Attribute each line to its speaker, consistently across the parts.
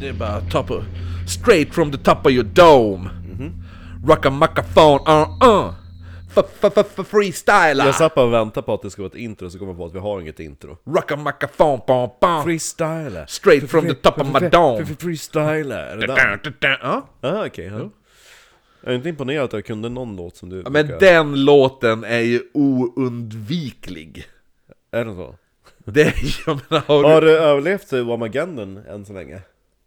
Speaker 1: Det är bara top of, straight from the top of your dome. Rocka macka phone, uh uh. Freestyla!
Speaker 2: Jag satt bara och väntade på att det ska vara ett intro, så kom jag på att vi har inget intro.
Speaker 1: Rocka macka phone, pom pom.
Speaker 2: Freestyla!
Speaker 1: Straight from the top of my dome.
Speaker 2: Freestyla! Är det där?
Speaker 1: Ja.
Speaker 2: Ah, okej. ja. Jag är inte imponerad att jag kunde någon låt som du
Speaker 1: Ja, Men
Speaker 2: brukar-
Speaker 1: den låten är ju oundviklig.
Speaker 2: Är det så?
Speaker 1: Det är jag menar, har
Speaker 2: Har
Speaker 1: du...
Speaker 2: du överlevt eh, Wamagandan än så länge?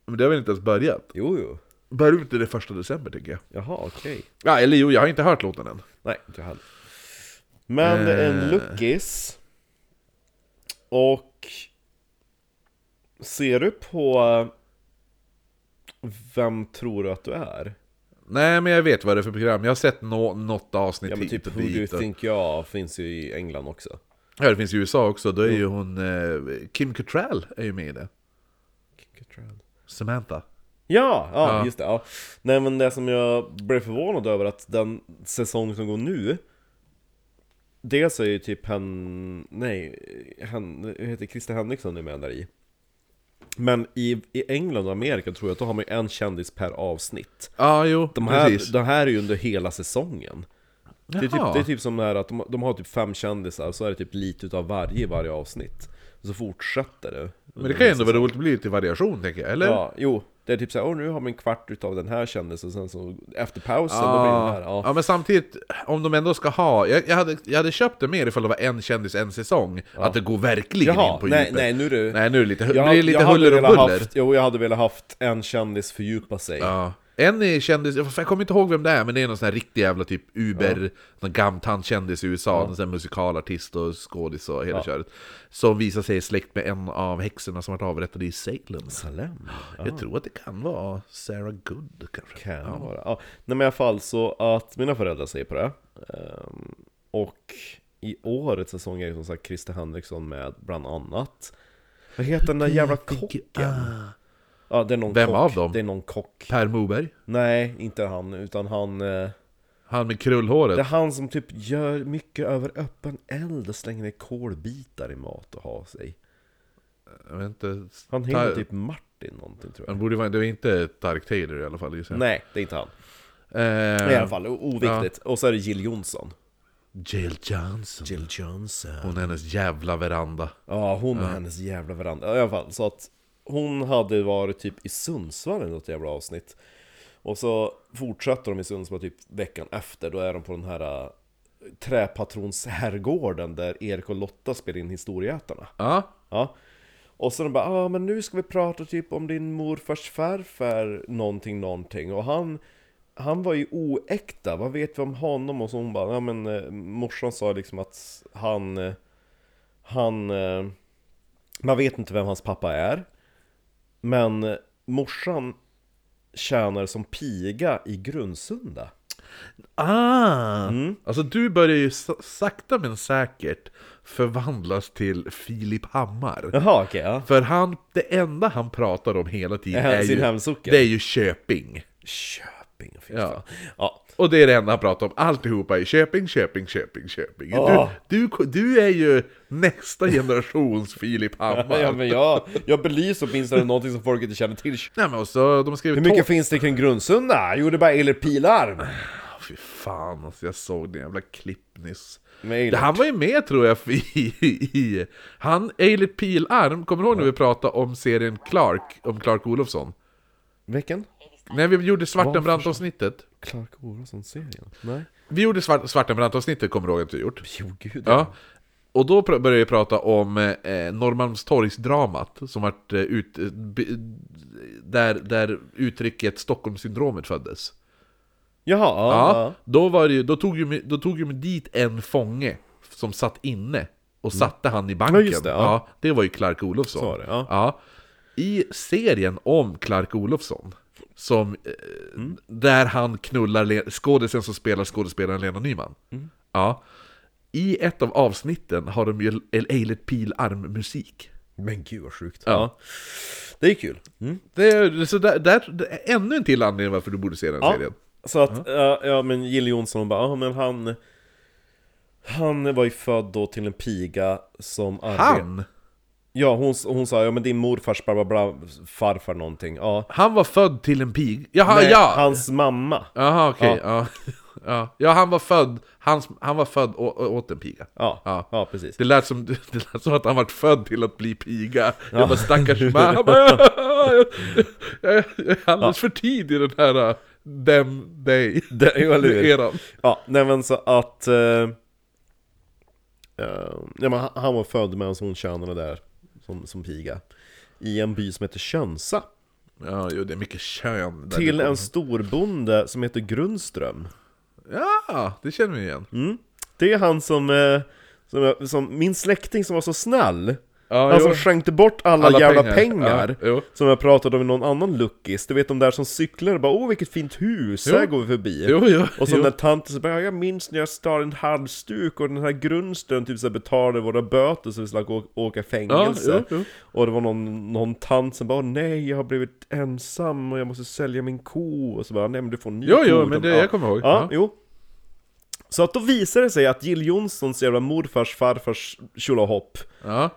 Speaker 1: Men det har väl inte ens börjat?
Speaker 2: Jo, jo.
Speaker 1: Börjar inte det första december tänker jag?
Speaker 2: Jaha, okej.
Speaker 1: Ja, eller jo, jag har inte hört låten än.
Speaker 2: Nej, inte jag heller. Men
Speaker 1: Eh.
Speaker 2: en luckis. Och ser du på eh, vem tror du att du är?
Speaker 1: Nej, men jag vet vad det är för program. Jag har sett nå något avsnitt
Speaker 2: Ja men
Speaker 1: hit
Speaker 2: typ
Speaker 1: och
Speaker 2: Who Do You
Speaker 1: dit. Och...
Speaker 2: Think You Are finns ju i England också.
Speaker 1: Ja, det finns i USA också.
Speaker 2: Mm.
Speaker 1: Då är ju hon... Eh, Kim Cattrall är ju med i det. Samantha.
Speaker 2: Ja, ja,
Speaker 1: Ja.
Speaker 2: just det. Ja. Nej men det som jag blev förvånad över att den säsong som går nu Dels är ju typ han, nej, han hur heter Christer Henriksson nu menar i Men i, i England och Amerika tror jag att då har man ju en kändis per avsnitt
Speaker 1: Ja, jo,
Speaker 2: De här,
Speaker 1: precis.
Speaker 2: de här är ju under hela säsongen det är, typ,
Speaker 1: Jaha.
Speaker 2: det är typ som det här att de, de har typ fem kändisar, så är det typ lite utav varje i varje avsnitt Så fortsätter det
Speaker 1: Men det kan ju ändå vara roligt att bli lite variation, tänker jag. Eller?
Speaker 2: Ja, jo. Det är typ såhär, åh nu har vi en kvart utav den här kändisen, sen så efter pausen då blir det den
Speaker 1: Ja,
Speaker 2: här. Ja.
Speaker 1: Ah. ja men samtidigt, om de ändå ska ha... Jag, jag, hade, jag hade köpt det mer ifall det var en kändis en säsong, att det går verkligen
Speaker 2: Jaha,
Speaker 1: in på
Speaker 2: nej,
Speaker 1: djupet.
Speaker 2: nej nu är det...
Speaker 1: nej, nu är det lite,
Speaker 2: Jag-
Speaker 1: blir det lite
Speaker 2: jag hade
Speaker 1: huller och
Speaker 2: velat
Speaker 1: buller.
Speaker 2: Haft, jo, jag hade velat haft en kändis fördjupa sig.
Speaker 1: Ja. En är kändis, jag jag kommer inte ihåg vem det är, men det är någon sån här riktig jävla typ Uber, någon gamtant-kändis i USA, någon sån här musikalartist och skådis och hela köret. Som visar sig släkt med en av häxorna som varit avrättade i Salem.
Speaker 2: Salem.
Speaker 1: Jag tror att det kan vara Sarah Good kanske.
Speaker 2: Kan det vara. Ja. Nej men i alla fall så att mina föräldrar säger på det. Ehm, och i årets säsong är det som sagt Christer Henriksson med bland annat. Vad heter den där jävla kocken? Ja, det är någon
Speaker 1: Vem
Speaker 2: kock.
Speaker 1: av dem?
Speaker 2: Det är någon kock.
Speaker 1: Ah. Per Moberg,
Speaker 2: Nej, inte han, utan han... eh,
Speaker 1: han med
Speaker 2: Det
Speaker 1: krullhåret.
Speaker 2: är han som typ gör mycket över öppen eld och slänger ner kolbitar i mat och har sig.
Speaker 1: Jag vet inte.
Speaker 2: Han heter
Speaker 1: Ta-
Speaker 2: typ Martin någonting tror jag.
Speaker 1: Han borde vara, det var inte Tark Taylor i alla fall gissar jag.
Speaker 2: Nej, det är inte han.
Speaker 1: Mm. Eh,
Speaker 2: I alla fall, o- oviktigt. Och så är det Jill Johnson.
Speaker 1: Jill Johnson.
Speaker 2: Jill Johnson.
Speaker 1: Hon är hennes jävla veranda.
Speaker 2: Ja, hon och hennes jävla veranda. I alla fall, så att hon hade varit typ i Sundsvall i något jävla avsnitt. Och så fortsätter de i Sundsvall typ veckan efter, då är de på den här äh, träpatronsherrgården där Erik och Lotta spelar in Historieätarna.
Speaker 1: Ja,
Speaker 2: Ja. Och så de bara, ah, men nu ska vi prata typ om din morfars farfar någonting, någonting. Och han, han var ju oäkta, vad vet vi om honom? Och så hon bara, ja men eh, morsan sa liksom att han, eh, han, eh, man vet inte vem hans pappa är. Men eh, morsan tjänar som piga i Grundsunda.
Speaker 1: Ah! Alltså du börjar ju sa- sakta men säkert förvandlas till Filip Hammar.
Speaker 2: Jaha, okej, ja.
Speaker 1: För han, det enda han pratar om hela tiden
Speaker 2: Är
Speaker 1: är
Speaker 2: sin
Speaker 1: ju,
Speaker 2: hemsocken.
Speaker 1: det är ju Köping.
Speaker 2: Köping, fy
Speaker 1: Ja.
Speaker 2: fan. Ja.
Speaker 1: Och det är det enda han pratar om. Alltihopa är Köping, Köping, Köping, Köping.
Speaker 2: Ah.
Speaker 1: Du, du, du är ju nästa generations Filip Hammar.
Speaker 2: Ja, men jag, jag belyser åtminstone någonting som folk inte känner till.
Speaker 1: Nej men och så, de skrev
Speaker 2: Hur mycket finns det kring Grundsunda? Jo, det är bara eller pilar.
Speaker 1: Fy fan, alltså jag såg den jävla klipp nyss.
Speaker 2: Med Eilert.
Speaker 1: Det, han var ju med tror jag i... i han, Eilert Pilarm, kommer du ihåg när vi pratade om serien Clark? Om Clark Olofsson?
Speaker 2: Vilken?
Speaker 1: När vi gjorde Svartenbrandt-avsnittet.
Speaker 2: Clark Olofsson-serien? Nej.
Speaker 1: Vi gjorde svart, Svartenbrandt-avsnittet, kommer du ihåg att vi gjort?
Speaker 2: Jo, gud.
Speaker 1: Ja. Och då pr- började vi prata om eh, Norrmalmstorgsdramat, som vart eh, ut... eh, b- Där, där uttrycket Stockholmssyndromet föddes.
Speaker 2: Jaha, ja.
Speaker 1: Ja,
Speaker 2: ja.
Speaker 1: då, var det ju, då, tog ju, då tog ju dit en fånge som satt inne och satte han i banken.
Speaker 2: Mm. Ja, just det, ja.
Speaker 1: det var ju Clark Olofsson.
Speaker 2: Så var det, ja.
Speaker 1: I serien om Clark Olofsson, som, eh,
Speaker 2: Mm.
Speaker 1: där han knullar Le- skådisen som spelar skådespelaren Lena Nyman.
Speaker 2: Mm.
Speaker 1: Ja, I ett av avsnitten har de ju Eilert Pil armmusik.
Speaker 3: Men gud vad sjukt. Mm.
Speaker 1: Ja.
Speaker 2: Ja. Det är kul.
Speaker 1: Det är, så där, där, det är ännu en till anledning varför du borde se den
Speaker 2: Ja.
Speaker 1: serien.
Speaker 2: Så att, ja, ja men Jill Johnson hon bara, ja men han Han var ju född då till en piga som arbetade
Speaker 1: Han!
Speaker 2: Ja hon, hon sa, ja men din morfars bla, bla, bla farfar någonting, ja
Speaker 1: Han var född till en pig. Jaha,
Speaker 2: Nej,
Speaker 1: Ah, ja!
Speaker 2: Hans mamma,
Speaker 1: Jaha, okej. Ja. Ja. ja, han var född, hans, han var född å, å, åt en piga.
Speaker 2: ja,
Speaker 1: Ja.
Speaker 2: ja, precis
Speaker 1: Det lät, som, det lät som att han vart född till att bli piga. Jag bara stackars man. Han bara, jag, jag, jag är alldeles för tidig i den här uh, dem, dig,
Speaker 2: Det- jo, eller hur?
Speaker 1: eran.
Speaker 2: Ja, nej men så att eh, eh, ja, men han- Han var född medan hon tjänade där som, som piga I en by som heter Könsa
Speaker 1: Ja, jo, det är mycket kön. där
Speaker 2: Till
Speaker 1: det
Speaker 2: en storbonde som heter Grundström
Speaker 1: kommer. Ja, det känner vi igen.
Speaker 2: Mm. Det är han som, eh, som, jag- som min släkting som var så snäll.
Speaker 1: Ja,
Speaker 2: han
Speaker 1: jo.
Speaker 2: som skänkte bort alla,
Speaker 1: Alla
Speaker 2: jävla
Speaker 1: pengar.
Speaker 2: pengar.
Speaker 1: Ja, jo.
Speaker 2: som jag pratade om i någon annan luckis. Du vet de där som cyklar och bara åh vilket fint hus, här går vi förbi.
Speaker 1: Jo, jo.
Speaker 2: Och så
Speaker 1: jo.
Speaker 2: den där tanten som bara "Ja, jag minns när jag stal en halsduk och den här grundstöden typ så här betalade våra böter så vi slapp å- åka i fängelse.
Speaker 1: Ja, jo, jo.
Speaker 2: Och det var någon, någon tant som bara "Åh, nej jag har blivit ensam och jag måste sälja min ko. Och så bara nej men du får en ny
Speaker 1: Jo,
Speaker 2: ko.
Speaker 1: jo,
Speaker 2: De-
Speaker 1: men det-
Speaker 2: ja.
Speaker 1: jag kommer ihåg.
Speaker 2: Ja,
Speaker 1: Ja.
Speaker 2: jo. Så att då visar det sig att Jill Johnsons jävla morfars farfars tjolahopp
Speaker 1: Ja.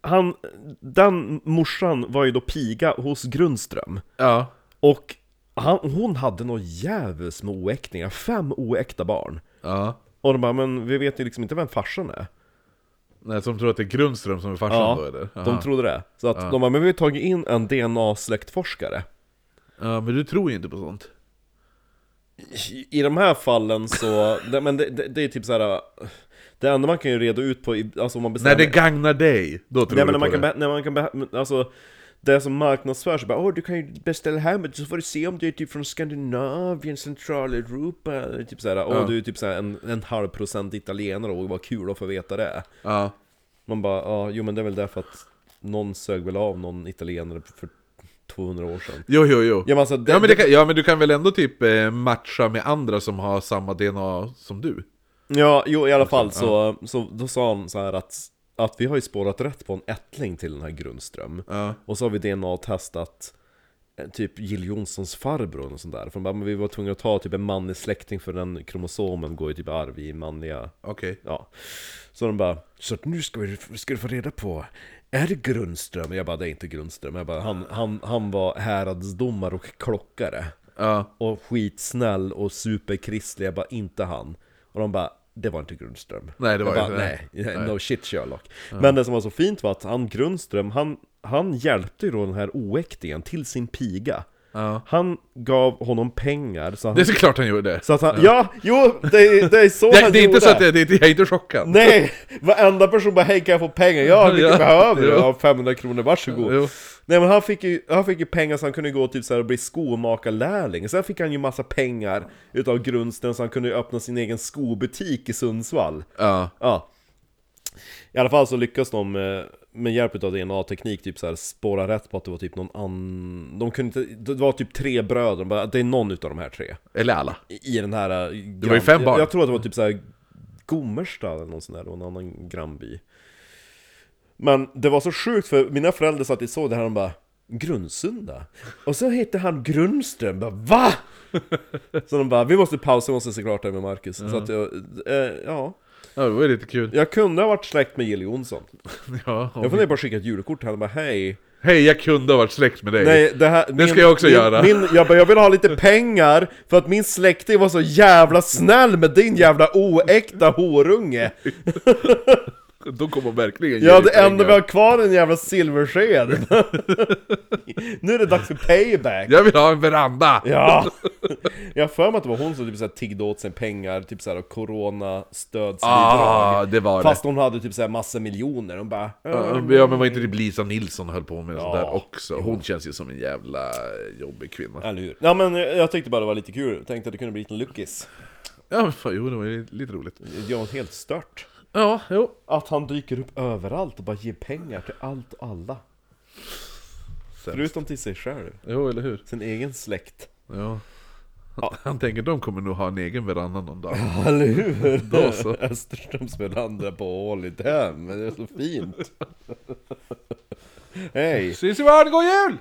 Speaker 2: han, den morsan var ju då piga hos Grundström
Speaker 1: Ja.
Speaker 2: Och han, hon hade nog jävligt med oäktningar, fem oäkta barn
Speaker 1: ja.
Speaker 2: Och de bara, men vi vet ju liksom inte vem farsan är
Speaker 1: Nej, som tror att det är Grundström som är farsan då eller? Jaha.
Speaker 2: de trodde det Så att de bara, men vi har ju tagit in en DNA-släktforskare
Speaker 1: Ja, men du tror ju inte på sånt.
Speaker 2: I- I de här fallen så, det, men det, det, det är typ så här. Det enda man kan ju reda ut på, i- alltså om man
Speaker 1: När
Speaker 2: bestämmer
Speaker 1: det gagnar dig, då tror
Speaker 2: Nej
Speaker 1: du
Speaker 2: men när
Speaker 1: på
Speaker 2: man, kan,
Speaker 1: det.
Speaker 2: be- när man kan, be- men alltså det som marknadsförs bara åh du kan ju beställa hem ett, så får du se om du är typ från Skandinavien, Centraleuropa eller typ såhär, åh du är typ såhär en, en halv procent italienare och vad kul att få veta det
Speaker 1: Ja.
Speaker 2: Man bara, ja jo men det är väl därför att någon sög väl av någon italienare för 200 år sedan
Speaker 1: Jo, jo, jo.
Speaker 2: Ja men alltså, det,
Speaker 1: Ja men, det
Speaker 2: det-
Speaker 1: kan, ja men du kan väl ändå typ eh, matcha med andra som har samma DNA som du?
Speaker 2: ja jo i alla fall så, så då sa han så här att, att vi har ju spårat rätt på en ättling till den här Grundström
Speaker 1: Ja.
Speaker 2: Och så har vi DNA-testat eh, typ Jill Johnsons farbror och sånt där. För de bara, men vi var tvungna att ta typ en manlig släkting för den kromosomen går ju typ i arv i manliga,
Speaker 1: Okej.
Speaker 2: ja. Så de bara, så att nu ska, vi, ska du få reda på, är det Grundström? Jag bara, det är inte Grundström. Jag bara, han, han, han var häradsdomare och klockare.
Speaker 1: Ja.
Speaker 2: Och skitsnäll och superkristlig. Jag bara, inte han. Och de bara, det var inte Grundström.
Speaker 1: Nej, det var
Speaker 2: jag
Speaker 1: inte
Speaker 2: bara,
Speaker 1: det.
Speaker 2: nej, no shit Sherlock. Men det som var så fint var att han Grundström, han, han hjälpte ju då den här oäktingen till sin piga. Han gav honom pengar så han...
Speaker 1: Det är såklart han gjorde.
Speaker 2: Så att han, ja, jo, det, är- det är så
Speaker 1: Det,
Speaker 2: han
Speaker 1: det är inte
Speaker 2: gjorde.
Speaker 1: så att jag, det, jag är inte chockad.
Speaker 2: Nej! Varenda person bara 'Hej kan jag få pengar?' Ja, vilket
Speaker 1: Ja.
Speaker 2: behöver du?
Speaker 1: Jo.
Speaker 2: Ja, 500 kronor, varsågod!
Speaker 1: Jo.
Speaker 2: Nej men han fick, ju, han fick ju pengar så han kunde gå typ så här och bli skomakarlärling Sen fick han ju massa pengar utav Grundsten så han kunde ju öppna sin egen skobutik i Sundsvall
Speaker 1: Ja.
Speaker 2: Ja I alla fall så lyckas de eh, med hjälp av DNA-teknik typ så här spåra rätt på att det var typ någon annan De kunde inte, det var typ tre bröder, de bara, det är någon utav de här tre
Speaker 1: Eller alla.
Speaker 2: i i den här... eh, Grann...
Speaker 1: var ju fem barn.
Speaker 2: Jag, jag tror att det var typ så här Gommersta eller någon sån där, det var en annan grannby. Men det var så sjukt för mina föräldrar satt och såg det här och de bara Grundsunda? Och så hette han Grundström, bara VA? Så de bara, vi måste pausa, vi måste se klart det här med Marcus. Så att jag, eh, ja.
Speaker 1: Ja, det var ju lite kul.
Speaker 2: Jag kunde ha varit släkt med Jill Johnson.
Speaker 1: Ja,
Speaker 2: Jag funderar på att skicka ett julkort till henne, bara hej.
Speaker 1: Hej, jag kunde ha varit släkt med dig.
Speaker 2: Nej, det här...
Speaker 1: ska jag också
Speaker 2: min,
Speaker 1: göra.
Speaker 2: Min, jag, bara, jag vill ha lite pengar för att min släkting var så jävla snäll med din jävla oäkta horunge.
Speaker 1: Då kommer verkligen ge
Speaker 2: Ja,
Speaker 1: dig
Speaker 2: det
Speaker 1: pengar.
Speaker 2: enda vi har kvar är en jävla silversked. nu är det dags för payback.
Speaker 1: Jag vill ha en veranda!
Speaker 2: Ja! Jag har för mig att det var hon som typ så här tiggde åt sig pengar, typ såhär coronastödsbidrag.
Speaker 1: Ah, det var det.
Speaker 2: Fast hon hade typ såhär massa miljoner, hon bara...
Speaker 1: Ja, Ja men var inte det Lisa Nilsson höll på med ja. sånt
Speaker 2: Ja.
Speaker 1: där också? Hon känns ju som en jävla jobbig kvinna.
Speaker 2: Eller hur? Ja men eh, jag jag tyckte bara det var lite kul, tänkte att det kunde bli en lyckis.
Speaker 1: Ja, men fan, jo det var ju lite roligt.
Speaker 2: Jag var helt stört.
Speaker 1: Ja, jo.
Speaker 2: Att han dyker upp överallt och bara ger pengar till allt och alla. Förutom till sig själv,
Speaker 1: Jo, eller hur?
Speaker 2: sin egen släkt.
Speaker 1: Ja. Han tänker de kommer nog ha en egen veranda någon dag.
Speaker 2: Eller hur?
Speaker 1: Då så.
Speaker 2: Österströms veranda på Ålidhem, men det är så fint. Hej!
Speaker 1: Ses i världen, god jul!